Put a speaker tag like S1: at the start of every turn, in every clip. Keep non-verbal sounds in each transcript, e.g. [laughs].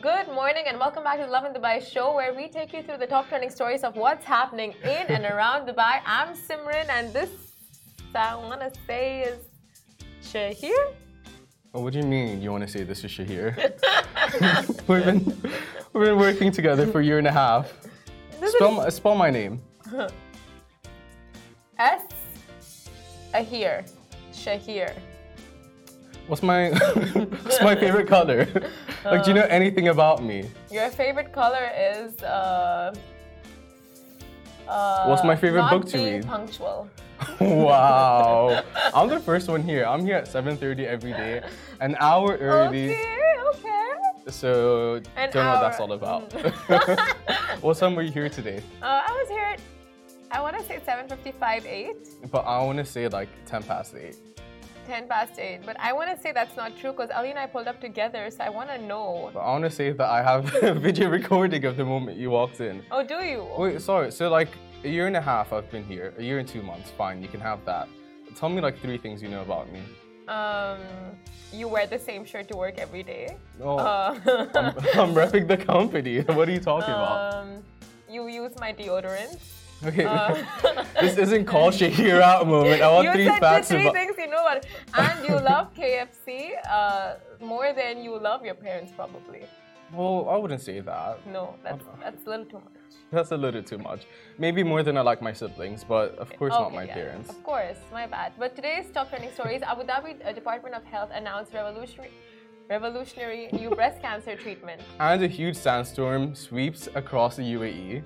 S1: Good morning and welcome back to Love in Dubai show where we take you through the top trending stories of what's happening in and around Dubai. I'm Simran and this I want to say is
S2: [laughs]
S1: Shahir.
S2: Oh, what do you mean you want to say this is Shahir? [laughs] we've, been, we've been working together for a year and a half.
S1: This
S2: Spell,
S1: is
S2: my- spell my name.
S1: [laughs] S Ahir. Shahir.
S2: What's my [laughs] what's my favorite color? like, do you
S1: Uh.
S2: know anything about me?
S1: Your favorite color is uh, uh,
S2: What's my favorite
S1: not
S2: book to
S1: being
S2: read?
S1: Punctual.
S2: Wow, I'm the first one here. I'm here at 7:30 every day, an hour early.
S1: Okay, okay.
S2: So
S1: An
S2: don't know what that's
S1: hour.
S2: all about.
S1: [laughs]
S2: [laughs] what time were you here today?
S1: Uh, I was here. At, I want to say 7:55, 8.
S2: But I want to say like 10 past eight.
S1: 10 past 8. But I want to say that's not true because Ali and I pulled up together, so I want to know.
S2: But I want to say that I have [laughs] a video recording of the moment you walked in.
S1: Oh, do you?
S2: Wait, sorry. So like a year and a half I've been here. A year and two months. Fine, you can have that. Tell me like three things you know about me.
S1: Um, you wear the same shirt to work every day.
S2: Oh, [laughs] I'm,
S1: Uh,
S2: I'm repping the company. [laughs] What are you talking about?
S1: um, you use my deodorant.
S2: Okay,
S1: uh,
S2: [laughs] this isn't call Shahir out moment.
S1: [laughs]
S2: I want
S1: you
S2: three
S1: said
S2: facts
S1: the three
S2: about.
S1: things you know about. And you love KFC uh, more than you love your parents, probably.
S2: Well, I wouldn't say that.
S1: No, that's, that's a little too much.
S2: That's a little too much. Maybe more than I like my siblings, but of course not
S1: Okay,
S2: my
S1: yeah.
S2: parents.
S1: Of course, my bad. But today's top trending stories: Abu Dhabi uh, Department of Health announced revolutionary, revolutionary new breast cancer treatment,
S2: And a huge sandstorm sweeps across the E, UAE.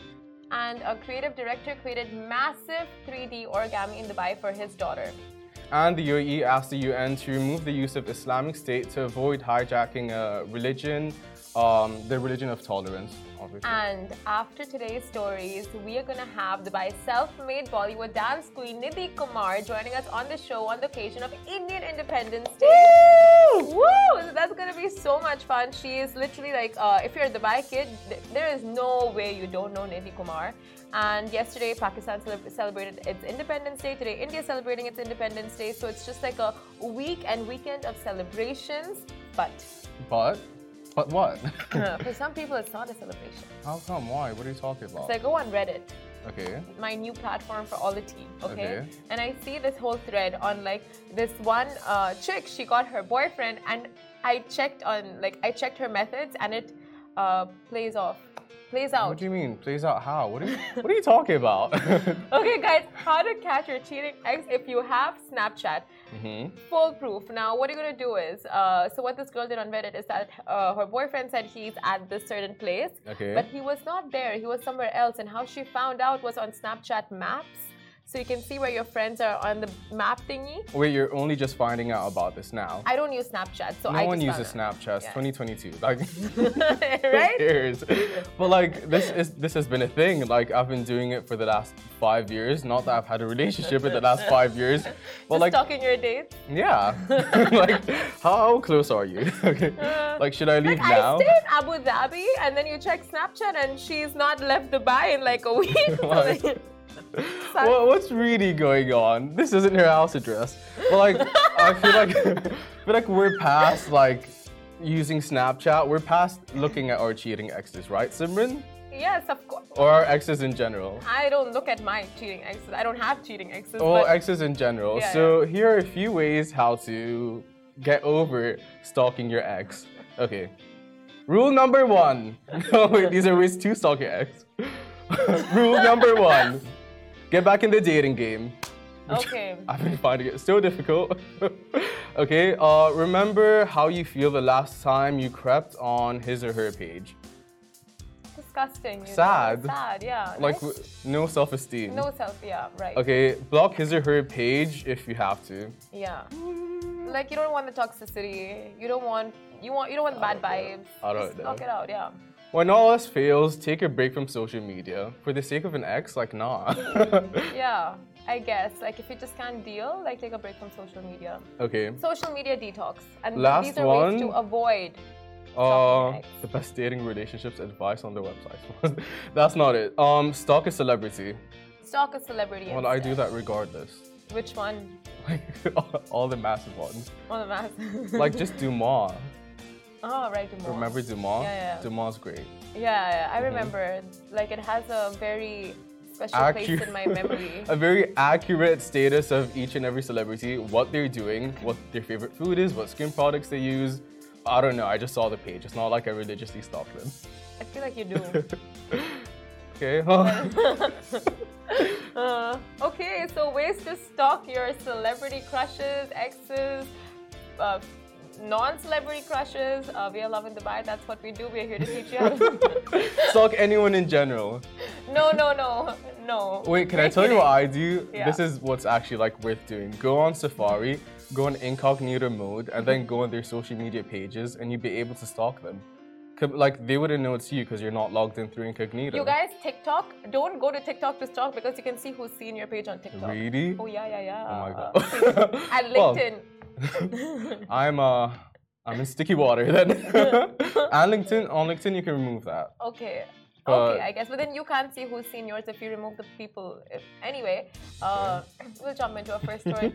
S1: and a creative director created massive 3D origami in Dubai for his daughter.
S2: And the UAE asked the UN to remove the use of Islamic State to avoid hijacking a religion, um, the religion of tolerance, obviously.
S1: And after today's stories, we are gonna have Dubai's self-made Bollywood dance queen Nidhi Kumar joining us on the show on the occasion of Indian Independence Day. Woo! So that's gonna be so much fun. She is literally like, uh, if you're a Dubai kid, th- there is no way you don't know Nidhi Kumar. And yesterday, Pakistan cele- celebrated its Independence Day. Today, India is celebrating its Independence Day. So it's just like a week and weekend of celebrations. But
S2: But, but what?
S1: [laughs]
S2: [laughs]
S1: uh, for some people, it's not a celebration.
S2: How come? Why? What are you talking about?
S1: So I go on Reddit.
S2: okay.
S1: my new platform for all the tea, okay?
S2: Okay.
S1: And I see this whole thread on like this one uh, chick, she got her boyfriend, and I checked on like I checked her methods, and it uh, plays off, plays
S2: What
S1: out.
S2: do you mean? Plays out how? What are
S1: [laughs]
S2: you, what are you talking about? [laughs] Mm-hmm.
S1: Okay, guys, how to catch your cheating ex if you have Snapchat? Foolproof. Now, what you're gonna do is, uh, so what this girl did on Reddit is that uh, her boyfriend said he's at this certain place,
S2: Okay.
S1: but he was not there. He was somewhere else, and how she found out was on Snapchat Maps. So you can see where your friends are on the map thingy.
S2: Wait, you're only just finding out about this now.
S1: I don't use Snapchat, so
S2: no
S1: I
S2: one
S1: just
S2: uses
S1: found
S2: Snapchat.
S1: Yeah.
S2: 2022. Like,
S1: [laughs] out.
S2: Who [laughs]
S1: right?
S2: cares? But like this is this has been a thing. Like I've been doing it for the last five years. Not that I've had a relationship in the
S1: [laughs]
S2: last five years. But
S1: Just
S2: like
S1: stalking your dates.
S2: yeah. [laughs] like how close are you? [laughs] okay. Like should I leave
S1: Uh, Like, I
S2: now?
S1: stay in Abu Dhabi, and then you check Snapchat, and she's not left Dubai in like a [laughs]
S2: [laughs]
S1: week.
S2: Like- [laughs] What, what's really going on? This isn't her house address. But like I feel like [laughs] I feel like we're past like using Snapchat. We're past looking at our cheating exes, right, Simran?
S1: [laughs] yes, of course.
S2: Or our exes in general.
S1: I don't look at my cheating exes. I don't have cheating exes.
S2: Well,
S1: but
S2: exes in general.
S1: Yeah,
S2: so here are a few ways how to get over stalking your ex. Okay. Rule number one. [laughs] No, wait, these are ways to stalk your ex. [laughs] Rule number one. Get back in the dating game. [laughs]
S1: okay.
S2: I've been finding it so difficult. [laughs] okay, uh, remember how you feel the last time you crept on his or her page.
S1: Disgusting. you know,
S2: Sad.
S1: Sad, yeah.
S2: Like,
S1: right?
S2: w- no self esteem.
S1: no self, yeah, right.
S2: Okay, block his or her page if you have to.
S1: Yeah. Like you don't want the toxicity. You don't want you want you don't want the bad
S2: don't know.
S1: vibes.
S2: I don't
S1: Just
S2: know.
S1: Knock it out, yeah.
S2: When all else fails, take a break from social media. For the sake of an ex, like nah. [laughs]
S1: Yeah. I guess. Like if you just can't deal, like take a break from social media.
S2: okay.
S1: Social media detox. And
S2: Last
S1: these are ways
S2: one.
S1: to avoid.
S2: Uh,
S1: ex.
S2: the best dating relationships advice on the website. [laughs] That's not it. Um, stalk a celebrity.
S1: Stalk a celebrity.
S2: Well, I do
S1: instead.
S2: that regardless. [laughs]
S1: Which one?
S2: Like all the massive ones. [laughs]
S1: On the mass.
S2: Like just do more.
S1: [laughs] Oh, right, Dumas.
S2: Remember Mm-hmm. Dumas?
S1: Yeah, yeah.
S2: Dumas great.
S1: Yeah, yeah, I remember. Like, it has a very special place
S2: [laughs]
S1: in my memory.
S2: a very accurate status of each and every celebrity, what they're doing, what their favorite food is, what skin products they use. I don't know. I just saw the page. It's not like I religiously stalked them.
S1: I feel like you do.
S2: [laughs] Okay.
S1: [laughs] Uh, okay, so ways to stalk your celebrity crushes, exes, uh, non-celebrity crushes. Uh, we are Love in Dubai. That's what we do. We're here to teach you.
S2: [laughs]
S1: how to-
S2: Stalk anyone in general.
S1: no, no, no, no.
S2: Wait, can I
S1: We're
S2: tell you what
S1: kidding.
S2: I do?
S1: Yeah.
S2: This is what's actually like worth doing. Go on Safari, go on incognito mode, and then go on their social media pages, and you'd be able to stalk them. Co- Like they wouldn't know it's you because you're not logged in through incognito.
S1: You guys, TikTok. Don't go to TikTok to stalk because you can see who's seen your page on TikTok.
S2: [laughs] really?
S1: Oh yeah, yeah, yeah.
S2: Oh my god.
S1: [laughs] At
S2: Well,
S1: LinkedIn.
S2: I'm uh I'm in sticky water [laughs]
S1: [laughs]
S2: then. and LinkedIn on LinkedIn you can remove that.
S1: Okay.
S2: But-
S1: okay, I guess. But then you can't see who's seen yours if you remove the people. If, anyway, uh, we'll jump into our first story.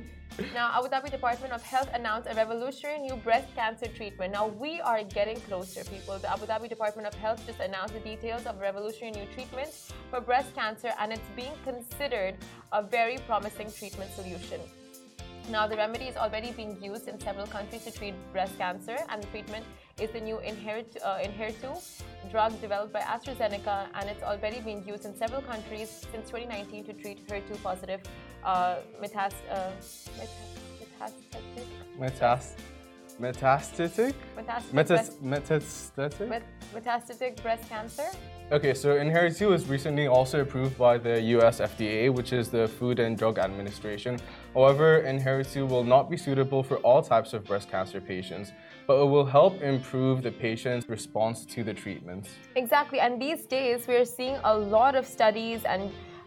S1: now, Abu Dhabi Department of Health announced a revolutionary new breast cancer treatment. Now, we are getting closer, people. The Abu Dhabi Department of Health just announced the details of a revolutionary new treatment for breast cancer, and it's being considered a very promising treatment solution. Now, the remedy is already being used in several countries to treat breast cancer, and the treatment is the new Inherit, uh, Inheritu drug developed by AstraZeneca, and it's already being used in several countries since 2019 to treat HER2 positive uh, metas- uh, metas- metastatic,
S2: Metast metastatic?
S1: metastatic,
S2: Metas
S1: breast,
S2: metastatic?
S1: met- metastatic breast cancer.
S2: Okay, so Inherit2 was recently also approved by the US FDA, which is the Food and Drug Administration. However, Inherit2 will not be suitable for all types of breast cancer patients, but it will help improve the patient's response to the treatments.
S1: Exactly, and these days we are seeing a lot of studies, and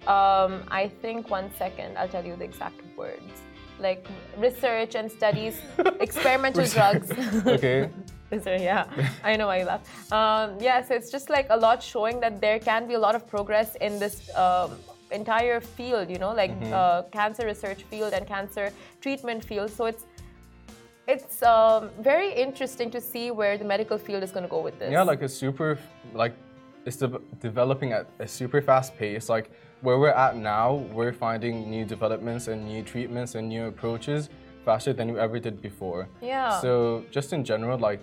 S1: um, I think one second I'll tell you the exact words like research and studies, experimental drugs.
S2: [laughs]
S1: [laughs]
S2: okay.
S1: Research, yeah, I know why you laugh. Um, yeah, so it's just like a lot showing that there can be a lot of progress in this. Um, entire field you know like uh, cancer research field and cancer treatment field so it's it's um, very interesting to see where the medical field is going to go with this
S2: Yeah, like a super, like it's de- developing at a super fast pace. Like where we're at now, we're finding new developments and new treatments and new approaches faster than we ever did before.
S1: Yeah.
S2: So just in general, like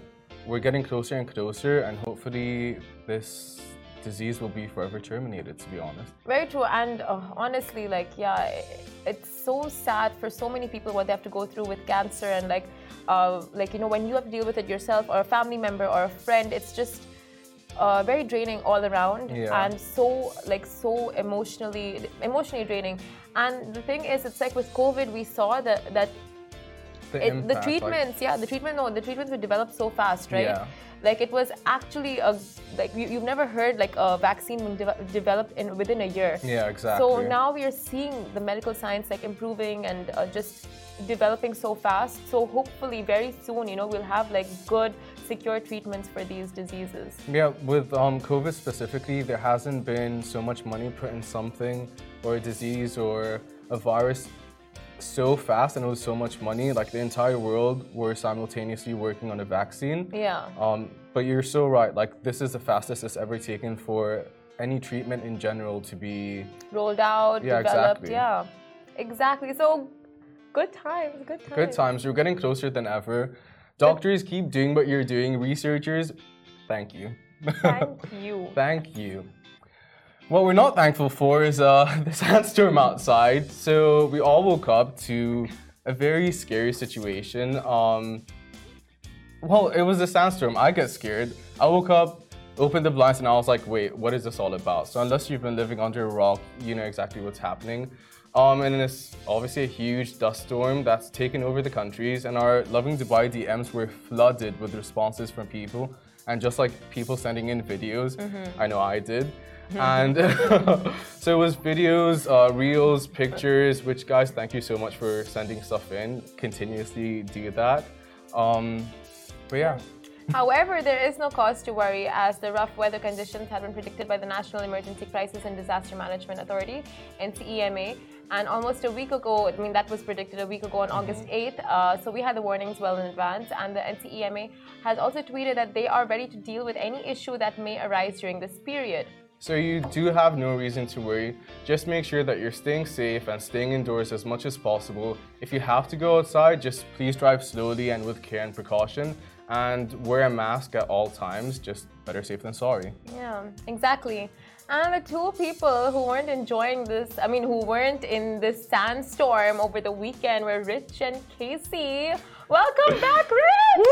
S2: we're getting closer and closer, and hopefully this disease will be forever terminated. To be honest.
S1: Very true, and uh, honestly, like, yeah, i- it's so sad for so many people what they have to go through with cancer, and like, uh, like you know, when you have to deal with it yourself or a family member or a friend, it's just uh, very draining all around,
S2: Yeah.
S1: and so like so emotionally emotionally draining. And the thing is, it's like with COVID, we saw that that
S2: The,
S1: it, the
S2: impact, like-
S1: treatments, yeah, the treatment, no, the treatments were developed so fast, right?
S2: Yeah.
S1: Like it was actually a like you, you've never heard like a vaccine being deve- developed in within a year.
S2: yeah, exactly.
S1: So now we are seeing the medical science like improving and uh, just developing so fast. So hopefully, very soon, you know, we'll have like good, secure treatments for these diseases.
S2: Yeah, with um, COVID specifically, there hasn't been so much money put in something or a disease or a virus so fast and it was so much money. Like the entire world were simultaneously working on a vaccine.
S1: Yeah.
S2: Um, but you're so right. Like this is the fastest it's ever taken for any treatment in general to be.
S1: Rolled out,
S2: Yeah,
S1: developed,
S2: exactly.
S1: yeah, exactly. So good times, good times.
S2: Good times. You're getting closer than ever. Doctors, keep doing what you're doing. Researchers, thank you. [laughs]
S1: Thank you.
S2: Thank you. What we're not thankful for is uh, [laughs] this sandstorm outside. So we all woke up to a very scary situation. Um, well, it was a sandstorm. I got scared. I woke up, opened the blinds, and I was like, wait, what is this all about? So, unless you've been living under a rock, you know exactly what's happening. Um, and it's obviously a huge dust storm that's taken over the countries, and our loving Dubai DMs were flooded with responses from people, and just like people sending in videos. I know I did. and [laughs] so it was videos, uh, reels, pictures, which guys, thank you so much for sending stuff in. Continuously do that. Um, but yeah,
S1: However, there is no cause to worry as the rough weather conditions had been predicted by the National Emergency Crisis and Disaster Management Authority, NCEMA, and almost a week ago, I mean, that was predicted a week ago on August 8th, uh, so we had the warnings well in advance. And the NCEMA has also tweeted that they are ready to deal with any issue that may arise during this period.
S2: So you do have no reason to worry. Just make sure that you're staying safe and staying indoors as much as possible. If you have to go outside, just please drive slowly and with care and precaution and wear a mask at all times. Just better safe than sorry.
S1: Yeah, exactly. And the two people who weren't enjoying this, I mean, who weren't in this sandstorm over the weekend were Rich and Casey. Welcome
S2: [laughs]
S1: back, Rich!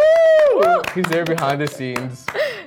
S1: Woo!
S2: He's there behind the scenes.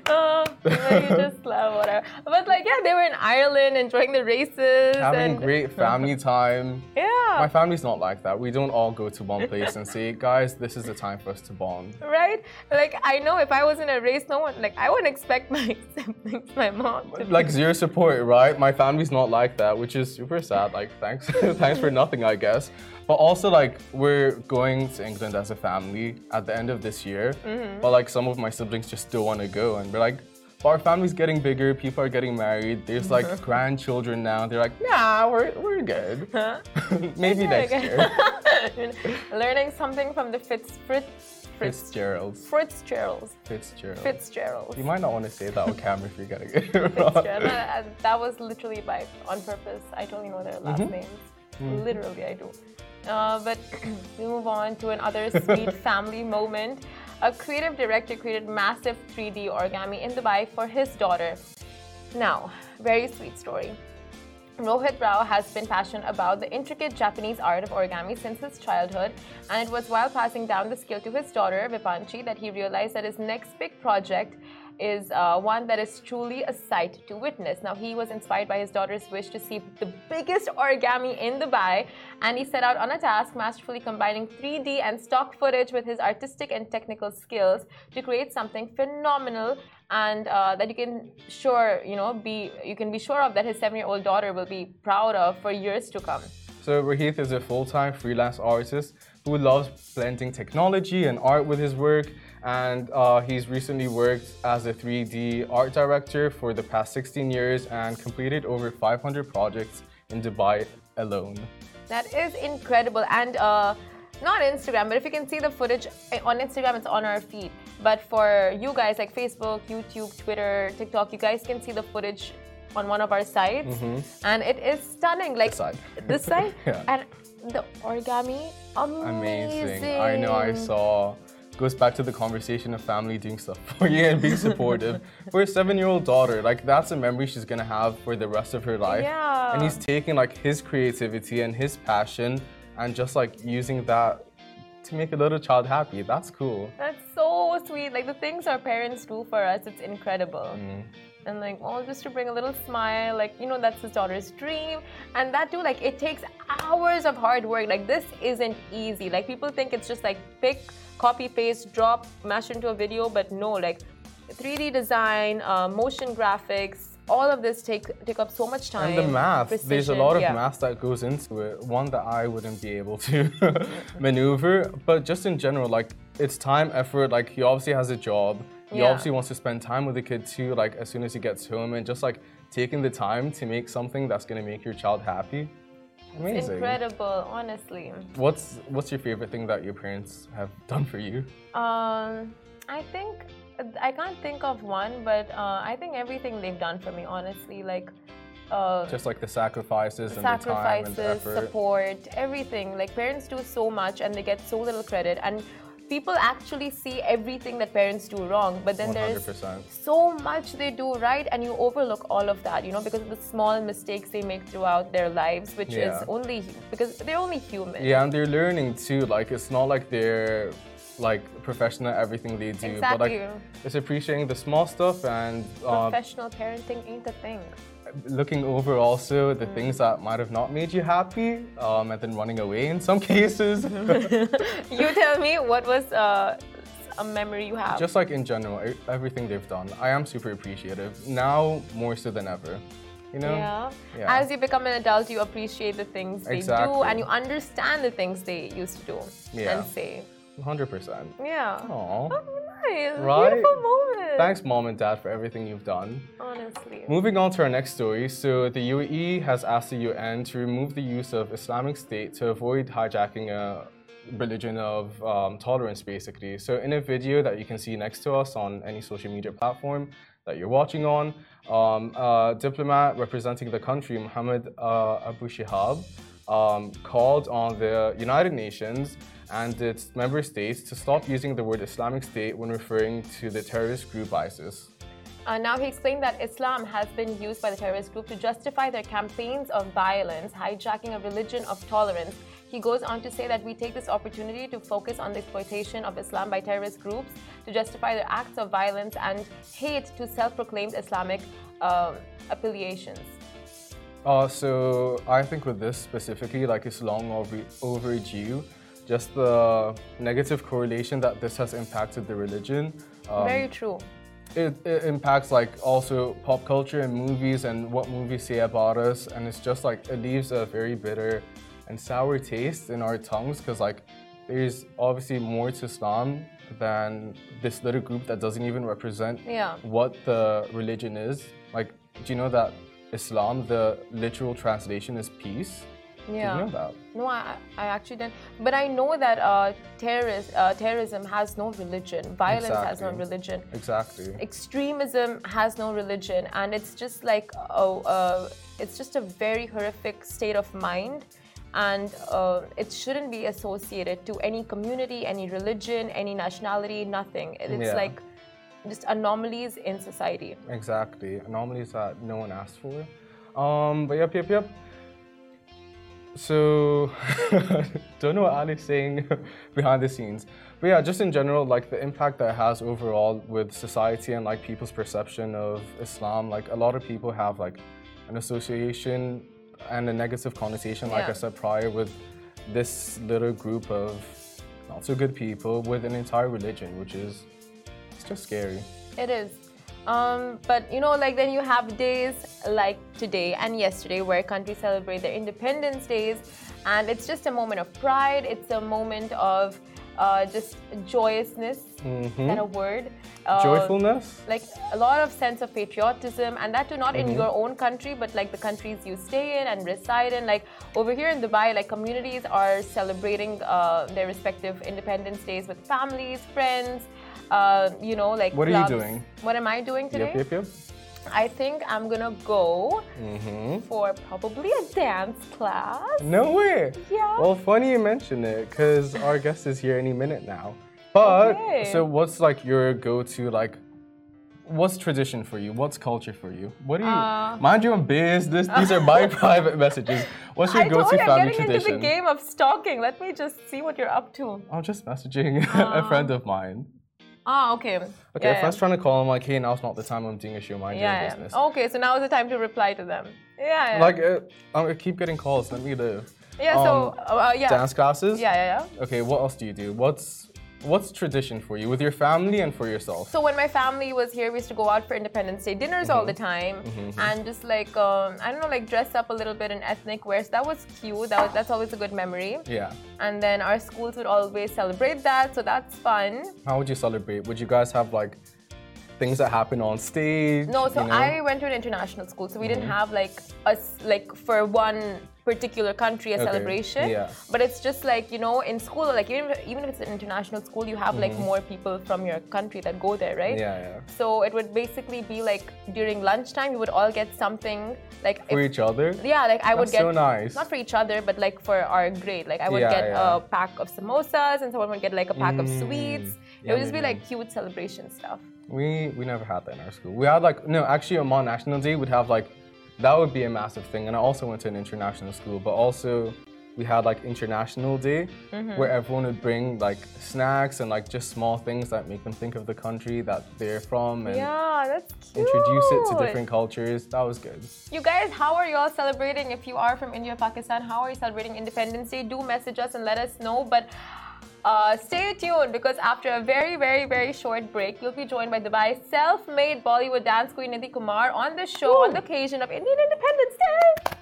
S1: Oh, you just love whatever. But like, yeah, they were in Ireland enjoying the races.
S2: Having
S1: and,
S2: great family time.
S1: Yeah.
S2: My family's not like that. We don't all go to one place and say, guys, this is the time for us to bond.
S1: Right? Like, I know if I was in a race, no one, like, I wouldn't expect my [laughs] siblings, my mom to
S2: Like zero support, right? My family's not like that, which is super sad. Like thanks, [laughs] thanks for nothing, I guess. But also like we're going to England as a family at the end of this year. But like some of my siblings just still want to go, and we're like, but our family's getting bigger. People are getting married. There's like grandchildren now. They're like, nah, we're we're good. [laughs]
S1: Huh?
S2: Maybe next year.
S1: Learning something from the [laughs] Fitz, Fritz, Fritz,
S2: Fitzgerald's.
S1: Fitzgeralds.
S2: Fitzgerald.
S1: Fitzgeralds.
S2: You might not want to say that on camera if you're getting [laughs] it wrong.
S1: Yeah, that, uh, that was literally by on purpose. I totally know their
S2: Mm-hmm.
S1: last names. Literally, I do. Uh, but [clears throat] we move on to another
S2: [laughs]
S1: sweet family moment. A creative director created massive 3D origami in Dubai for his daughter. Now, very sweet story. Rohit Rao has been passionate about the intricate Japanese art of origami since his childhood, and it was while passing down the skill to his daughter, Vipanchi, that he realized that his next big project is uh, one that is truly a sight to witness. Now, he was inspired by his daughter's wish to see the biggest origami in Dubai, and he set out on a task masterfully combining 3D and stock footage with his artistic and technical skills to create something phenomenal and uh, that you can sure you know be you can be sure of that his seven year old daughter will be proud of for years to come
S2: So Rahith is a full-time freelance artist who loves blending technology and art with his work, and uh, he's recently worked as a 3D art director for the past 16 years and completed over 500 projects in Dubai alone.
S1: that is incredible and uh not Instagram, but if you can see the footage eh, on Instagram, it's on our feed. But for you guys, like Facebook, YouTube, Twitter, TikTok, you guys can see the footage on one of our sites, and it is stunning. Like
S2: This Mm-hmm. side.
S1: this side,
S2: [laughs] Yeah.
S1: and the origami, amazing.
S2: Amazing. I know. I saw. Goes back to the conversation of family doing stuff [laughs] for you and being supportive for a seven-year-old daughter. Like that's a memory she's gonna have for the rest of her life.
S1: Yeah.
S2: And he's taking like his creativity and his passion and just like using that to make a little child happy. That's cool.
S1: That's so sweet. Like the things our parents do for us, it's incredible.
S2: Mm-hmm.
S1: And like, oh, just to bring a little smile, like you know, that's his daughter's dream, and that too, like it takes hours of hard work. Like this isn't easy. Like people think it's just like pick, copy, paste, drop, mash into a video, but no, like 3D design, uh, motion graphics, all of this take take up so much time.
S2: And the math, there's a lot of
S1: precision. Yeah.
S2: math that goes into it. One that I wouldn't be able to [laughs] maneuver. But just in general, like it's time, effort. Like he obviously has a job. He
S1: Yeah.
S2: obviously wants to spend time with the kid too. Like as soon as he gets home, and just like taking the time to make something that's gonna make your child happy. Amazing.
S1: Incredible, honestly.
S2: What's what's your favorite thing that your parents have done for you?
S1: Um, I think I can't think of one, but uh, I think everything they've done for me, honestly, like uh,
S2: Just like the sacrifices, and the time and
S1: sacrifices,
S2: the effort.
S1: support, everything. Like parents do so much, and they get so little credit. And people actually see everything that parents do wrong, but then there's
S2: 100%.
S1: so much they do right, and you overlook all of that, you know, because of the small mistakes they make throughout their lives, which is
S2: Yeah.
S1: only because they're only human.
S2: Yeah, and they're learning too. Like it's not like they're like professional at everything they do, but like
S1: Exactly.
S2: it's appreciating the small stuff and uh,
S1: Professional parenting ain't a thing.
S2: looking over also the things that might have not made you happy, um, and then running away in some [laughs]
S1: [laughs]
S2: cases.
S1: You tell me what was uh, a memory you have.
S2: Just like in general, e- everything they've done, I am super appreciative now more so than ever. You know.
S1: yeah.
S2: Yeah.
S1: As you become an adult, you appreciate the things they do
S2: Exactly.
S1: and you understand the things they used to do
S2: Yeah.
S1: and say.
S2: Hundred percent.
S1: Yeah. Oh,
S2: Aw.
S1: nice.
S2: Right?
S1: Beautiful moment.
S2: Thanks, mom and dad, for everything you've done.
S1: Honestly.
S2: Moving on to our next story. So, the UAE has asked the UN to remove the use of Islamic State to avoid hijacking a religion of um, tolerance, basically. So, in a video that you can see next to us on any social media platform that you're watching on, um, a diplomat representing the country, Mohammed uh, Abu Shihab, um, called on the United Nations and its member states to stop using the word Islamic State when referring to the terrorist group ISIS.
S1: Uh, now, he explained that Islam has been used by the terrorist group to justify their campaigns of violence, hijacking a religion of tolerance. He goes on to say that we take this opportunity to focus on the exploitation of Islam by terrorist groups to justify their acts of violence and hate to self proclaimed Islamic uh, affiliations.
S2: Uh, so I think with this specifically, like it's long over- overdue. Just the negative correlation that this has impacted the religion. Um,
S1: Very true.
S2: it, it impacts like also pop culture and movies and what movies say about us, and it's just like it leaves a very bitter and sour taste in our tongues because like there's obviously more to Islam than this little group that doesn't even represent
S1: Yeah.
S2: what the religion is. Like, do you know that Islam, the literal translation is peace?
S1: Yeah.
S2: Did you know that?
S1: No, I, I actually didn't. But I know that uh, terrorist, uh, terrorism has no religion. Violence has no
S2: Exactly.
S1: religion.
S2: Exactly.
S1: Extremism has no religion, and it's just like oh, uh, it's just a very horrific state of mind, and uh, it shouldn't be associated to any community, any religion, any nationality, nothing. It's
S2: Yeah.
S1: like just anomalies in society.
S2: Exactly. Anomalies that no one asked for. Um, but yep, yep, yep. So, [laughs] don't know what Ali's saying [laughs] behind the scenes. But yeah, just in general, like the impact that it has overall with society and like people's perception of Islam, like a lot of people have like an association and a negative connotation, like
S1: Yeah.
S2: I said prior, with this little group of not so good people with an entire religion, which is it's just scary.
S1: It is. Um, but you know, like then you have days like today and yesterday where countries celebrate their independence days, and it's just a moment of pride. It's a moment of uh, just joyousness. Is that a word? Uh,
S2: Joyfulness.
S1: Like a lot of sense of patriotism, and that too not
S2: Mm-hmm.
S1: in your own country, but like the countries you stay in and reside in. Like over here in Dubai, like communities are celebrating uh, their respective independence days with families, friends. Uh, you know, like
S2: What are you
S1: clubs.
S2: doing?
S1: What am I doing today?
S2: Yep, yep, yep.
S1: I think I'm gonna go
S2: Mm-hmm.
S1: for probably a dance class.
S2: No way.
S1: Yeah.
S2: Well, funny you mention it because our guest is here any minute now. But
S1: Okay.
S2: so, what's like your go-to like? What's tradition for you? What's culture for you? What do you
S1: Uh,
S2: mind your own biz? This, these are
S1: [laughs]
S2: my private messages. What's your
S1: I told
S2: go-to
S1: you I'm
S2: family
S1: getting into the
S2: tradition?
S1: game of stalking. Let me just see what you're up to.
S2: I'm just messaging [laughs] a friend of mine.
S1: Ah, okay.
S2: Okay,
S1: Uh-huh. yeah,
S2: if I was trying to call him, like, hey, now's not the time. I'm doing a show. Mind
S1: yeah.
S2: your own
S1: yeah,
S2: business.
S1: yeah. Okay, so now is the time to reply to them. Yeah. yeah.
S2: Like, uh, I keep getting calls. Let me live.
S1: yeah. So
S2: um,
S1: uh, yeah.
S2: Dance classes.
S1: Yeah, yeah, yeah.
S2: Okay, what else do you do? What's what's tradition for you with your family and for yourself?
S1: So when my family was here, we used to go out for Independence Day dinners all the
S2: Mm-hmm.
S1: time, and just like um, I don't know, like dress up a little bit in ethnic wear. So that was cute. That was, that's always a good memory.
S2: yeah.
S1: and then our schools would always celebrate that so that's fun
S2: How would you celebrate? Would you guys have like things that happen on stage?
S1: no so
S2: you know? Mm-hmm.
S1: i went to an international school so we didn't have like us like for one particular country a
S2: Okay,
S1: celebration
S2: yeah.
S1: but it's just like you know in school like even if, even if it's an international school you have like more people from your country that go there right
S2: Mm-hmm. Yeah, yeah.
S1: so it would basically be like during lunchtime you would all get something like
S2: For
S1: if-
S2: each other?
S1: yeah, like I would
S2: That's
S1: get
S2: so nice.
S1: not for each other, but like for our grade. Like I would
S2: Yeah,
S1: get
S2: yeah. Mm.
S1: a pack of samosas, and someone would get like a pack of sweets. it would just be
S2: yummy.
S1: like cute celebration stuff.
S2: We we never had that in our school. We had like no, actually on National Day we'd have like that would be a massive thing. And I also went to an international school, but also we had like International Day
S1: Mm-hmm.
S2: where everyone would bring like snacks and like just small things that make them think of the country that they're from and
S1: Yeah, that's cute.
S2: introduce it to different cultures. That was good.
S1: You guys, how are you all celebrating? If you are from India or Pakistan, how are you celebrating Independence Day? Do message us and let us know. But uh, stay tuned because after a very, very, very short break, you'll be joined by Dubai's self made Bollywood dance queen Nidhi Kumar on the show on the occasion of Indian Independence Day.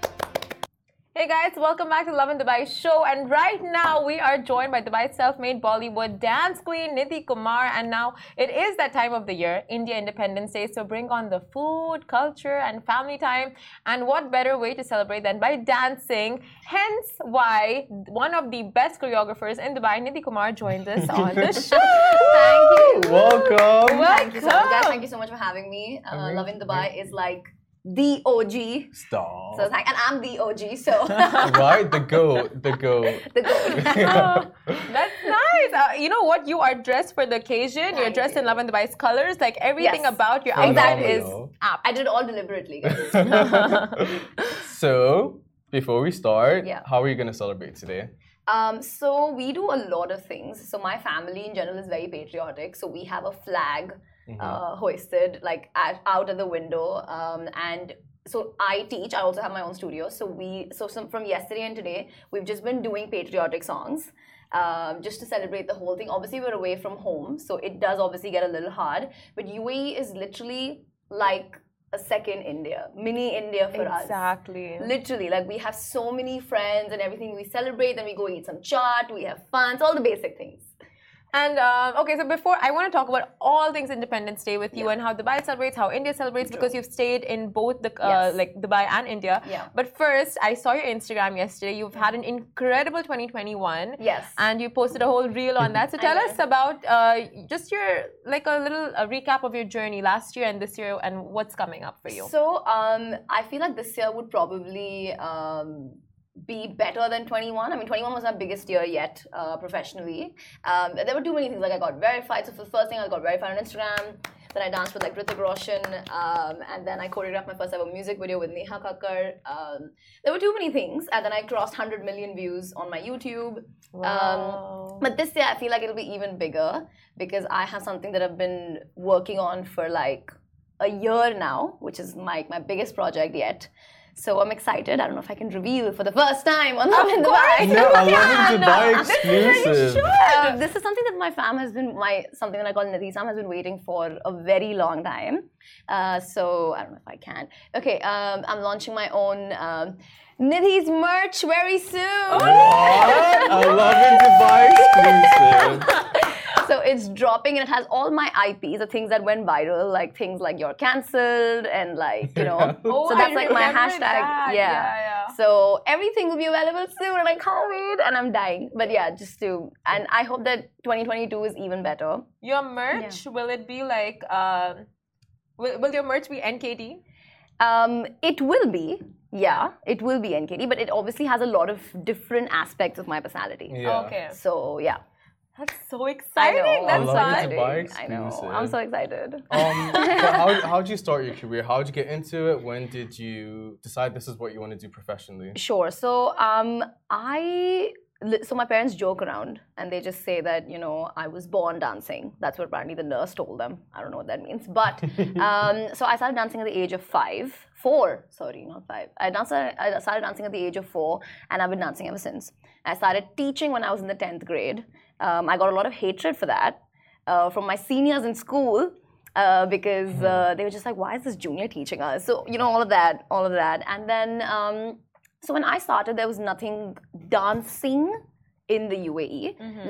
S1: Hey guys, welcome back to Love in Dubai show. And right now we are joined by Dubai's self-made Bollywood dance queen Nidhi Kumar. And now it is that time of the year, India Independence Day. So bring on the food, culture, and family time. And what better way to celebrate than by dancing? Hence why one of the best choreographers in Dubai, Nidhi Kumar, joins us on the show.
S3: Thank you.
S2: Welcome.
S1: What?
S3: Thank you so much, guys. Thank you so much for having me. Uh, Love in Dubai is like the OG.
S2: Stop. [laughs]
S3: So thank, and I'm the OG. So [laughs]
S2: right? The goat. The goat.
S3: the goat.
S2: [laughs]
S1: Oh, That's nice. Uh, you know what? You are dressed for the occasion. You're
S3: Thank
S1: dressed in
S3: you.
S1: Love and Dubai's colors. Like everything
S3: Yes.
S1: about your outfit is
S2: Phenomenal.
S1: apt.
S3: I did it all deliberately. guys.
S2: [laughs] so, before we start,
S3: Yeah.
S2: how are you going to celebrate today?
S3: Um, so we do a lot of things. So my family in general is very patriotic. So we have a flag uh, hoisted like at, out of the window. Um, and so I teach. I also have my own studio. So we so some, from yesterday and today we've just been doing patriotic songs. Um, just to celebrate the whole thing. Obviously, we're away from home, so it does obviously get a little hard. But UAE is literally like a second India, mini India for us.
S1: Exactly.
S3: Literally, like we have so many friends and everything. We celebrate, then we go eat some chaat, we have fun. It's all the basic things.
S1: And um, okay, so before I want to talk about all things Independence Day with you and how Dubai celebrates, how India celebrates, because you've stayed in both the uh,
S3: Yes.
S1: like Dubai and India.
S3: Yeah.
S1: But first, I saw your Instagram yesterday. You've had an incredible 2021.
S3: Yes.
S1: And you posted a whole reel on
S3: [laughs]
S1: that. So tell
S3: know.
S1: us about uh, just your like a little a recap of your journey last year and this year and what's coming up for you.
S3: So um, I feel like this year would probably um, be better than 21. I mean, 21 was my biggest year yet uh, professionally. Um, there were too many things. Like I got verified. So for the first thing, I got verified on Instagram. Then I danced with like Ritik Roshan, um, and then I choreographed my first ever music video with Neha Kakkar. Um, there were too many things, and then I crossed 100 million views on my YouTube.
S1: Wow.
S3: Um, but this year, I feel like it'll be even bigger because I have something that I've been working on for like a year now, which is my my biggest project yet. So I'm excited. I don't know if I can reveal for the first time on Love in Dubai.
S2: No,
S3: [laughs]
S2: I love it
S1: no,
S2: Dubai
S1: this
S2: exclusive.
S3: Um, this is something that my fam has been my something that I call Nadisam has been waiting for a very long time. Uh, so I don't know if I can. Okay, um, I'm launching my own um, Nidhi's merch very soon.
S2: Oh. What? I love it Dubai exclusive.
S3: So it's dropping and it has all my IPs, the things that went viral, like things like you're cancelled and like,
S2: [laughs]
S3: you know.
S1: Oh,
S3: so
S1: I
S3: that's like my
S1: remember
S3: hashtag.
S1: that.
S3: Yeah.
S1: Yeah, yeah.
S3: So everything will be available soon and I can't wait and I'm dying. But yeah, just to, and I hope that 2022 is even better.
S1: Your merch will it be like? um will, will your merch be NKD?
S3: Um, it will be. Yeah, it will be NKD, but it obviously has a lot of different aspects of my personality.
S2: Yeah.
S1: Okay,
S3: So yeah,
S1: that's so
S3: I
S1: exciting.
S3: know.
S1: That's
S2: love it.
S1: fun.
S2: It's a buy
S3: I know.
S2: exclusive.
S3: I'm so excited.
S2: Um, so how how'd you start your career? How'd you get into it? When did you decide this is what you want to do professionally?
S3: Sure. So um, I li- so my parents joke around and they just say that you know I was born dancing. That's what apparently the nurse told them. I don't know what that means, but um, so I started dancing at the age of five, four. Sorry, not five. I danced. I started dancing at the age of four, and I've been dancing ever since. I started teaching when I was in the tenth grade. Um, I got a lot of hatred for that uh, from my seniors in school uh, because uh, they were just like, why is this junior teaching us? So, you know, all of that, all of that. And then, um, so when I started, there was nothing dancing in the UAE,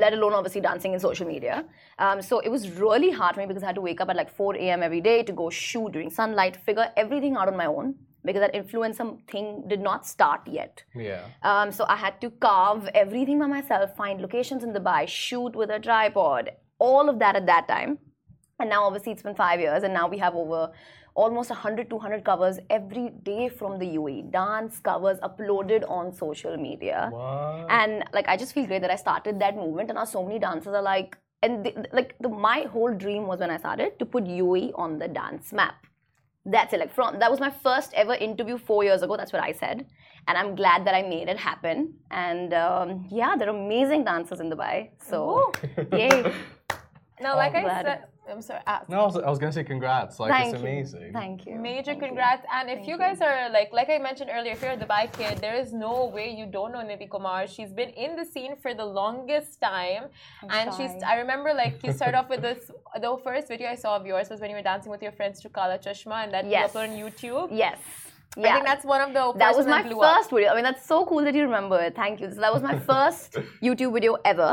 S3: let alone obviously dancing in social media. Um, so it was really hard for me because I had to wake up at like 4 a.m. every day to go shoot during sunlight, figure everything out on my own because that influencer thing did not start yet.
S2: Yeah.
S3: Um, so I had to carve everything by myself, find locations in Dubai, shoot with a tripod, all of that at that time. And now, obviously, it's been five years, and now we have over almost 100, 200 covers every day from the UAE. Dance covers uploaded on social media.
S2: What?
S1: Uh-huh.
S3: And like, I just feel great that I started that movement, and now so many dancers are like, and they, like, the, my whole dream was when I started to put UAE on the dance map. That's it. Like from that was my first ever interview four years ago. That's what I said, and I'm glad that I made it happen. And um, yeah, they're amazing dancers in Dubai. So
S1: Oh. [laughs]
S3: yay!
S1: Now, like I
S3: Oh, glad.
S1: said, I'm sorry. ah,
S2: No, I was, I was gonna say congrats. Like
S3: Thank
S2: it's
S3: you.
S2: amazing.
S3: Thank you.
S1: Major
S3: Thank you.
S1: congrats. And if you guys are like, like I mentioned earlier, if you're a Dubai kid, there is no way you don't know Nidhi Kumar. She's been in the scene for the longest time. and she's,
S3: sorry.
S1: I remember like you start off with this, the first video I saw of yours was when you were dancing with your friends to Kala Chashma and that you
S3: Yes.
S1: uploaded on YouTube.
S3: Yes.
S1: I think that's one of the
S3: that
S1: first
S3: was
S1: one
S3: my
S1: blew up.
S3: first video. I mean, that's so cool that you remember it. Thank you. So that was
S1: [laughs]
S3: my first YouTube video ever.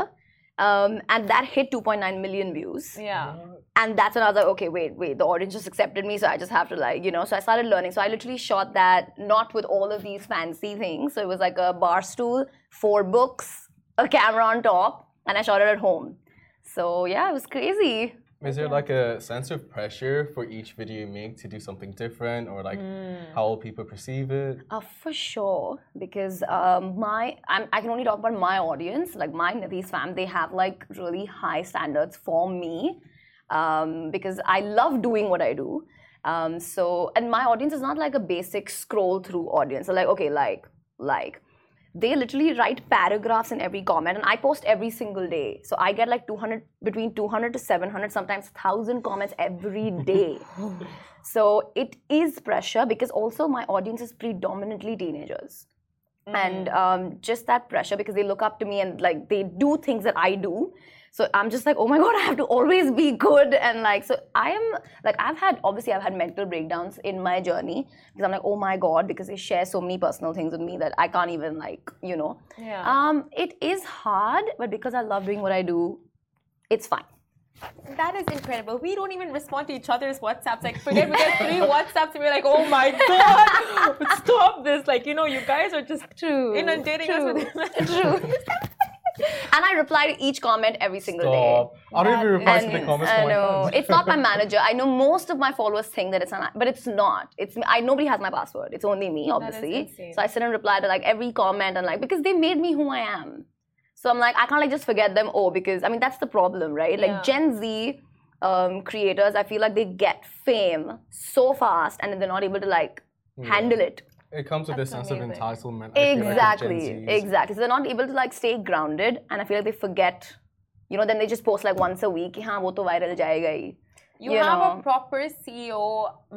S3: Um, and that hit 2.9 million views.
S1: Yeah.
S3: And that's when I was like, okay, wait, wait, the audience just accepted me, so I just have to like, you know. So I started learning. So I literally shot that not with all of these fancy things. So it was like a bar stool, four books, a camera on top, and I shot it at home. So yeah, it was crazy.
S2: Is there like a sense of pressure for each video you make to do something different or like
S3: Mm.
S2: how will people perceive it?
S3: Uh, for sure, because um, my I'm, I can only talk about my audience, like my Nidhi's fam. They have like really high standards for me, um, because I love doing what I do. Um, so, and my audience is not like a basic scroll through audience. So like, okay, like, like, they literally write paragraphs in every comment, and I post every single day. So I get like 200 between 200 to 700, sometimes thousand comments every day. So it is pressure because also my audience is predominantly teenagers. And um, just that pressure because they look up to me and like they do things that I do. So I'm just like, oh my God, I have to always be good. And like, so I am like, I've had obviously I've had mental breakdowns in my journey because I'm like, oh my God, because they share so many personal things with me that I can't even like, you know.
S1: Yeah.
S3: Um, it is hard, but because I love doing what I do, it's fine.
S1: That is incredible. We don't even respond to each other's WhatsApps. Like, forget we get [laughs] three WhatsApps and we're like, oh my god, [laughs] stop this! Like, you know, you guys are just
S3: True.
S1: inundating us with [laughs]
S3: True. [laughs] and I reply to each comment every single
S2: Stop.
S3: day.
S2: I don't even
S1: That
S2: reply to
S1: is-
S2: the comments
S3: I
S2: from my
S3: know
S2: friends.
S3: uh, it's not
S2: [laughs]
S3: my manager. I know most of my followers think that it's not, but it's not. It's I nobody has my password. It's only me, obviously.
S1: insane.
S3: So I sit and reply to like every comment and like because they made me who I am. So I'm like I can't like just forget them. Oh, because I mean that's the problem, right? Like
S1: Yeah.
S3: Gen Z um, creators, I feel like they get fame so fast and then they're not able to like handle it.
S2: It comes with a
S1: That's
S2: sense of
S1: amazing.
S2: entitlement. I feel like, with
S3: Exactly,
S2: Gen Zs.
S3: exactly. So they're not able to like stay grounded, and I feel like they forget. You know, then they just post like once a week. "Ki, हाँ, वो तो viral जाएगा ही."
S1: You,
S3: You
S1: have a
S3: know.
S1: proper CEO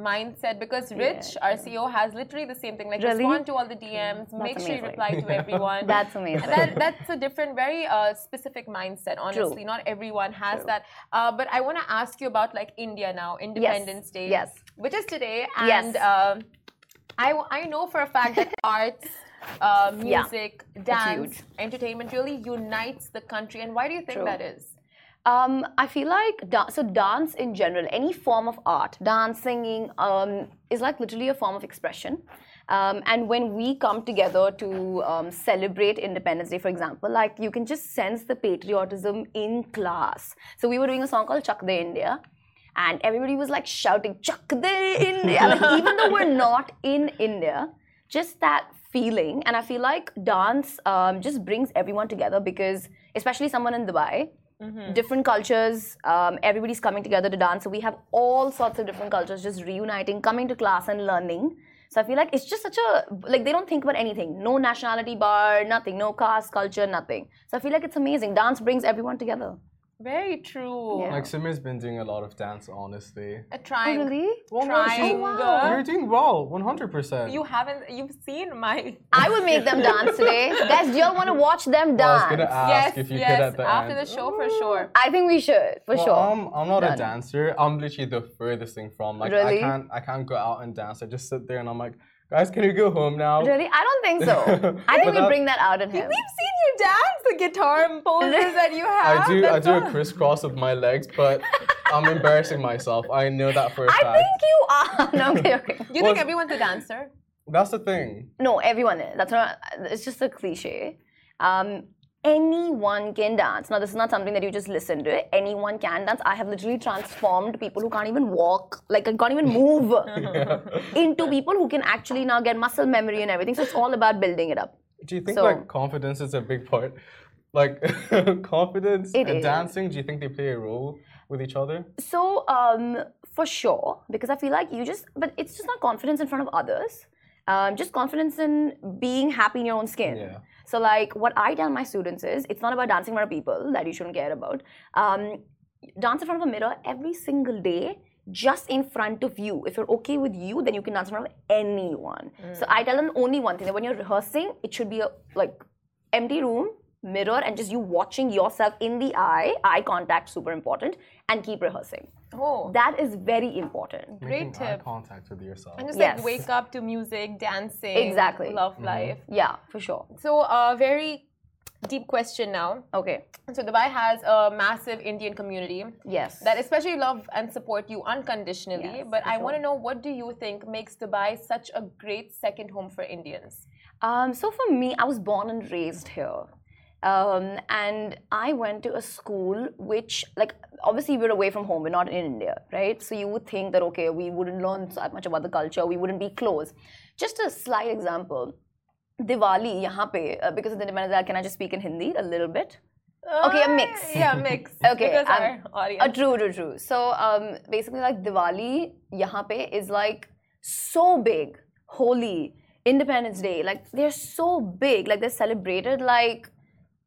S1: mindset because Rich, our CEO, has literally the same thing. Like,
S3: Really?
S1: respond to all the DMs, make sure you
S3: amazing.
S1: reply
S3: [laughs]
S1: to everyone.
S3: That's amazing.
S1: [laughs] that, that's a different, very uh, specific mindset. Honestly, not everyone has that. Uh, but I want to ask you about like India now, Independence Day,
S3: yes.
S1: which is today,
S3: Yes.
S1: and um I I know for a fact
S3: [laughs]
S1: that arts. Uh, music, dance,
S3: huge.
S1: entertainment really unites the country. And why do you think
S3: True.
S1: that is?
S3: Um, I feel like da- so dance in general, any form of art, dance, singing, um, is like literally a form of expression. Um, and when we come together to um, celebrate Independence Day, for example, like you can just sense the patriotism in class. So we were doing a song called Chak De India. And everybody was like shouting, Chak De India. Like, even though we're not in India, just that feeling. And I feel like dance um, just brings everyone together because, especially someone in Dubai, different cultures um, everybody's coming together to dance so we have all sorts of different cultures just reuniting coming to class and learning so i feel like it's just such a like they don't think about anything no nationality bar nothing no caste culture nothing so i feel like it's amazing dance brings everyone together
S1: Very true.
S3: Yeah. Oh,
S2: Like Simir's been doing a lot of dance, honestly.
S1: A triangle.
S3: really Oh,
S2: Well, Oh, no, she's-
S1: Triangle.
S2: You're doing well, 100%.
S1: You haven't. You've seen my.
S3: i will make them dance today guys do y'all want to watch them
S2: I was
S3: dance
S2: gonna ask if you could at the
S1: after
S2: end.
S1: the show for sure.
S3: I think we should for
S2: Well,
S3: sure
S2: I'm, I'm not a
S3: Done.
S2: dancer. I'm literally the furthest thing from. Like I
S3: Really?
S2: can't I can't go out and dance. I just sit there and I'm like, guys, can you go home now?
S3: really i don't think
S2: [laughs]
S3: so i think
S2: But
S3: we
S2: that-
S3: bring that out in him
S1: We've seen you dance the guitar poses that you have.
S3: Ah,
S2: I do I
S1: That's
S2: do
S1: all.
S2: a crisscross with my legs, but I'm embarrassing myself. I know that for a
S3: i
S2: fact.
S3: think you are [laughs] no, okay okay
S1: You think everyone's a dancer?
S2: That's the
S3: [laughs]
S2: thing.
S3: No, everyone is. That's not. It's just a cliche. Um, anyone can dance. Now, this is not something that you just listen to. Anyone can dance. I have literally transformed people who can't even walk, like can't even move, into people who can actually now get muscle memory and everything. So it's all about building it up.
S2: Do you think
S3: So-
S2: like confidence is a big part? Like [laughs] confidence
S3: It
S2: and
S3: is.
S2: dancing, do you think they play a role with each other?
S3: So um, for sure, because I feel like you just, but it's just not confidence in front of others. Um, just confidence in being happy in your own skin.
S2: Yeah.
S3: So like what I tell my students is, it's not about dancing in front of people that you shouldn't care about. Um, dance in front of a mirror every single day, just in front of you. If you're okay with you, then you can dance in front of anyone. So I tell them only one thing: that when you're rehearsing, it should be a like empty room mirror and just you watching yourself in the eye, eye contact super important, and keep rehearsing.
S1: Oh,
S3: That is very important.
S1: great
S2: Making eye
S1: tip.
S2: Mm, contact with yourself.
S1: And just
S3: Yes.
S1: like wake up to music, dancing,
S3: Exactly.
S1: love
S2: Mm-hmm.
S1: life.
S3: Yeah, for sure.
S1: So, a very deep question now.
S3: Okay.
S1: So, Dubai has a massive Indian community
S3: Yes.
S1: that especially love and support you unconditionally.
S3: Yes,
S1: but
S3: for
S1: I
S3: sure.
S1: want to know what do you think makes Dubai such a great second home for Indians?
S3: Um, so for me, I was born and raised here. Um, and I went to a school which, like, obviously we're away from home, we're not in India, right? So you would think that, okay, we wouldn't learn that much about the culture, we wouldn't be close. Just a slight example Diwali, yahan pe, uh, because of the demand, can I just speak in Hindi a little bit? Okay, a mix.
S1: Uh, Yeah, a [laughs] mix.
S3: Okay,
S1: because
S3: um,
S1: our audience.
S3: Uh, true, true, true. So um, basically, like Diwali, yahan pe is like so big. Holi, Independence Day, like they're so big. Like they're celebrated like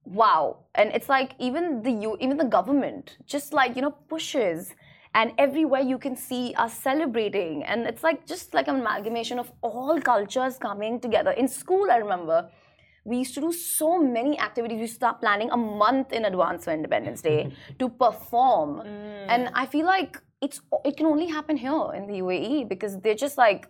S3: wow. And it's like even the U, even the government just like you know pushes. And everywhere you can see us celebrating, and it's like just like an amalgamation of all cultures coming together. In school, I remember we used to do so many activities. We used to start planning a month in advance for Independence Day to perform. And I feel like it's it can only happen here in the UAE because they're just like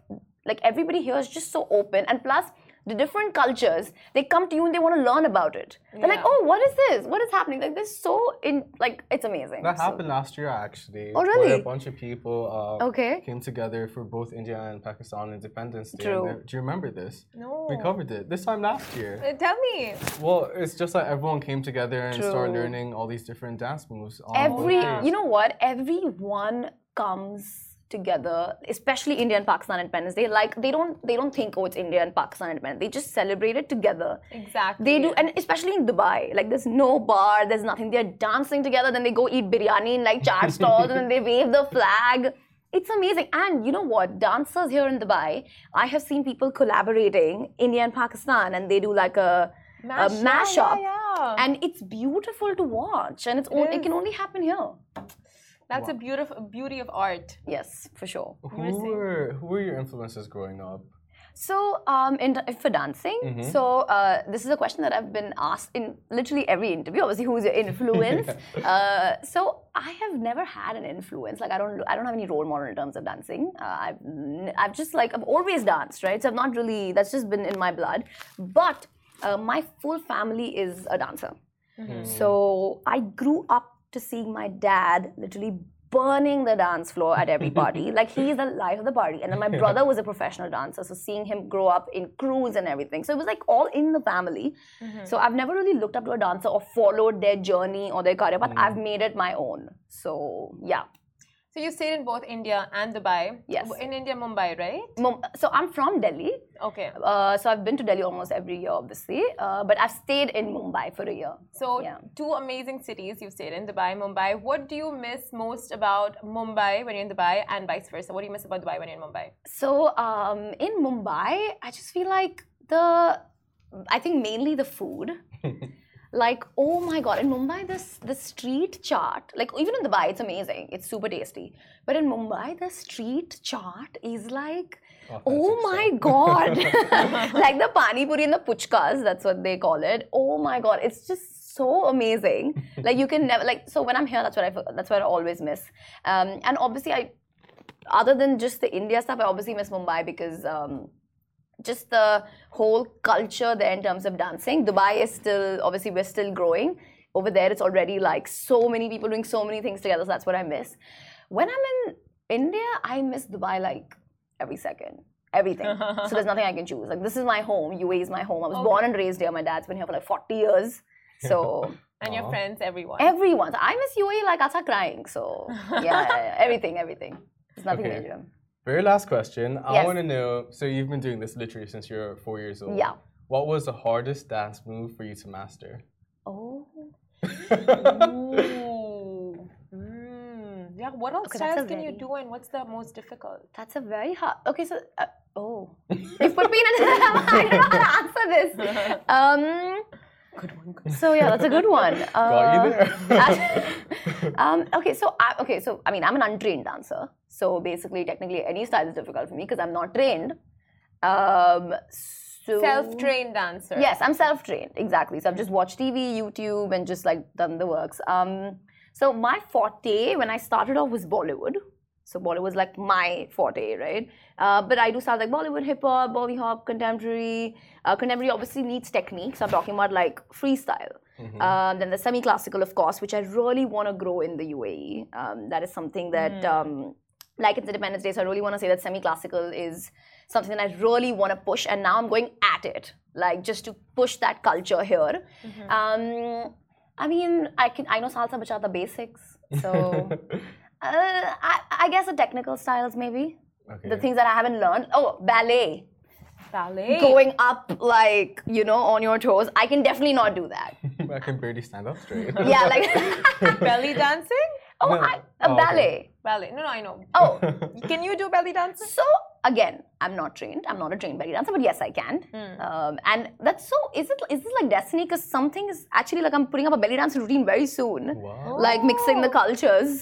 S3: like everybody here is just so open. And plus the different cultures, they come to you and they want to learn about it. They're like,
S1: Yeah.
S3: oh, what is this? What is happening? Like they're so in like it's amazing.
S2: That
S3: So-
S2: happened last year, actually.
S3: Oh, really?
S2: Where a bunch of people uh,
S3: Okay.
S2: came together for both India and Pakistan Independence Day.
S3: True.
S2: And they- Do you remember this?
S1: no.
S2: We covered it this time last year.
S1: Uh, Tell me.
S2: Well, it's just like everyone came together and started
S3: True.
S2: learning all these different dance moves. Oh, on
S3: every
S2: one day.
S3: you know what everyone comes together especially india and pakistan independence day like they don't they don't think oh it's india and pakistan independence they just celebrate it together
S1: Exactly.
S3: they do and especially in dubai like there's no bar there's nothing they're dancing together then they go eat biryani in like char stalls and then they wave the flag it's amazing and you know what dancers here in dubai i have seen people collaborating india and pakistan and they do like a
S1: mash,
S3: a mashup
S1: Yeah, yeah, yeah.
S3: and it's beautiful to watch and it's on, it
S1: is.
S3: can only happen here
S1: That's a beautiful beauty of art.
S3: Yes, for sure.
S2: Who were, who were your influences growing up?
S3: So, um, in, for dancing, so uh, this is a question that I've been asked in literally every interview. Obviously, who's your influence? uh, so, I have never had an influence. Like, I don't, I don't have any role model in terms of dancing. Uh, I've, n- I've just like, I've always danced, right? So, I've not really. That's just been in my blood. But uh, my full family is a dancer. So I grew up to seeing my dad literally burning the dance floor at every party. like he's the life of the party. And then my brother was a professional dancer. So seeing him grow up in crews and everything. So it was like all in the family. So I've never really looked up to a dancer or followed their journey or their career, but I've made it my own. So yeah.
S1: So you stayed in both India and Dubai.
S3: Yes.
S1: In India, Mumbai, right?
S3: Mum- So I'm from Delhi.
S1: Okay.
S3: Uh, so I've been to Delhi almost every year, obviously. Uh, but I've stayed in Mumbai for a year.
S1: So
S3: Yeah.
S1: two amazing cities you've stayed in, Dubai, Mumbai. What do you miss most about Mumbai when you're in Dubai, and vice versa? What do you miss about Dubai when you're in Mumbai?
S3: So um, in Mumbai, I just feel like the, I think mainly the food. like oh my god, in Mumbai this the street chaat, like even in Dubai it's amazing, it's super tasty. But in Mumbai the street chaat is like. Oh
S2: Authentic
S3: my
S2: stuff.
S3: god! [laughs] like the pani puri and the puchkas, that's what they call it. Oh my god, it's just so amazing. Like you can never like. So when I'm here, that's what I that's what I always miss. Um, and obviously, I other than just the India stuff, I obviously miss Mumbai because um, just the whole culture there in terms of dancing. Dubai is still obviously we're still growing. Over there, it's already like so many people doing so many things together. So that's what I miss. When I'm in India, I miss Dubai like every second. Everything. so there's nothing I can choose. Like this is my home. UAE is my home. I was born and raised here. My dad's been here for like 40 years. So
S1: And your
S2: Aw.
S1: friends, everyone.
S3: everyone. I miss UAE like I start crying. So yeah, yeah, yeah. everything, everything. There's nothing
S2: Okay.
S3: major.
S2: Very last question. I
S3: Yes.
S2: want to know so you've been doing this literally since you're four years old.
S3: Yeah.
S2: What was the hardest dance move for you to
S3: [laughs]
S2: master?
S3: Oh.
S1: [laughs] Ooh. Mm. Yeah. What all
S3: Okay, that's
S1: styles
S3: a
S1: can you
S3: very-
S1: do, and what's the most difficult?
S3: That's a very hard. Okay, so uh,
S1: [laughs]
S3: oh, you put me in a dilemma. [laughs] I don't know how to answer this.
S1: [laughs]
S3: Um,
S1: Good one.
S3: so yeah, that's a good one.
S1: [laughs]
S3: Uh,
S2: Got you there.
S3: [laughs] um, okay, so I, okay, so I mean, I'm an untrained dancer, so basically, technically, any style is difficult for me because I'm not trained. Um, So
S1: Self-trained dancer.
S3: Yes, I'm self-trained exactly. So I've just watched TV, YouTube, and just like done the works. Um, so my forte when I started off was Bollywood. So Bollywood was like my forte, right? Uh, but I do stuff like Bollywood, hip hop, Bolly hop, contemporary. Uh, contemporary obviously needs technique. So I'm talking about like freestyle.
S2: Mm-hmm. [laughs]
S3: Um, then the semi-classical, of course, which I really want to grow in the UAE. Um, that is something that,
S2: Mm.
S3: um, like it's Independence Day, so I really want to say that semi-classical is something that I really want to push, and now I'm going at it, like just to push that culture here.
S2: Mm-hmm.
S3: Um, I mean, I can I know salsa bachata
S2: [laughs]
S3: basics, [laughs] so uh, I, I guess the technical styles maybe
S2: Okay.
S3: the things that I haven't learned. Oh, ballet
S1: Ballet.
S3: going up like you know on your toes. I can definitely not do that.
S2: [laughs] I can barely stand up
S3: [laughs]
S2: straight. [laughs]
S3: Yeah, like
S1: Belly dancing?
S3: oh,
S2: No.
S3: I,
S2: Oh,
S3: a
S2: okay.
S3: ballet.
S1: Ballet. No, no, I know.
S2: [laughs]
S3: Oh,
S1: Can you do belly dancing?
S3: so again, I'm not trained. I'm not a trained belly dancer, but yes, I can. Um, and that's so. Is it? Is this like destiny? Because something is actually like I'm putting up a belly dance routine very soon.
S2: wow.
S3: Like mixing the cultures.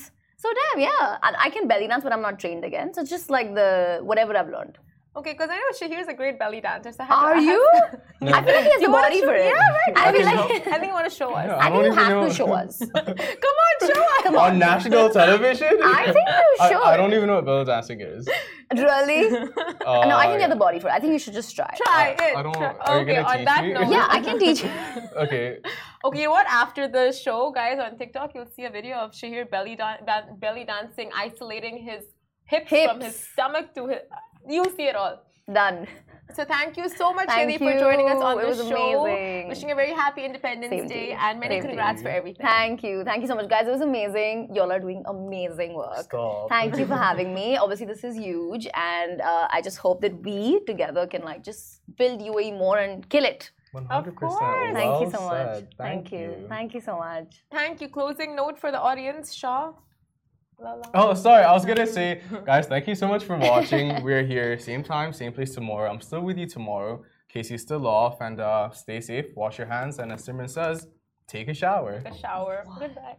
S3: So damn, yeah. And I can belly dance, but I'm not trained again. So it's just like the whatever I've learned.
S1: Okay, because I know Shahir's a great belly dancer. So I had to
S3: Are
S1: ask.
S3: you? [laughs] I feel like he has
S1: You
S3: the
S1: wanna
S3: body
S1: show-
S3: for it.
S1: Yeah, right.
S3: I feel
S1: [laughs]
S3: like [laughs]
S1: I think you want to show us.
S2: Yeah.
S3: I
S2: I don't
S3: think
S2: even
S3: you have to
S2: know.
S3: show us.
S1: [laughs] Come on, show us.
S3: Come
S2: [laughs] On national television?
S3: I
S2: [laughs]
S3: think you
S2: I-
S3: should.
S2: I, don't even know what belly dancing
S3: [laughs]
S2: is.
S3: Really?
S2: Uh,
S3: No, I think you're the body for it. I think you should just try.
S1: Try
S2: I-
S1: it.
S2: I don't-
S1: Try-
S2: are you
S1: okay,
S2: gonna
S1: on
S2: teach
S1: that
S2: me?
S1: note.
S3: Yeah, I can teach. you.
S2: [laughs] Okay.
S1: Okay, you know what? After the show, guys, on TikTok, you'll see a video of Shahir belly, dan- dan- belly dancing, isolating his hips, from
S3: Hips.
S1: his stomach to his. You'll see it all.
S3: Done.
S1: So thank you so much,
S3: Thank
S1: Shahir, for joining us
S3: you.
S1: on
S3: It
S1: the
S3: was
S1: show.
S3: amazing.
S1: Wishing you a very happy Independence
S3: Same to
S1: Day
S3: you.
S1: and many
S3: Same to
S1: congrats
S2: you.
S1: for everything.
S3: Thank you. Thank you so much, guys. It was amazing. Y'all are doing amazing work.
S2: Stop.
S3: Thank you for
S2: [laughs]
S3: having me. Obviously, this is huge, and uh, I just hope that we together can like just build UAE more and kill it.
S2: 100%.
S1: course.
S3: Thank you
S2: Well
S3: so much.
S2: said. Thank, you.
S3: Thank you so much.
S1: Thank you. Closing note for the audience, Shaw. La, la.
S2: Oh, sorry. I was
S3: [laughs]
S2: gonna say, guys, thank you so much for watching. [laughs] We're here, same time, same place tomorrow. I'm still with you tomorrow. Casey's still off, and uh, stay safe. Wash your hands, and as Simran says, take a shower.
S1: A shower. Goodbye.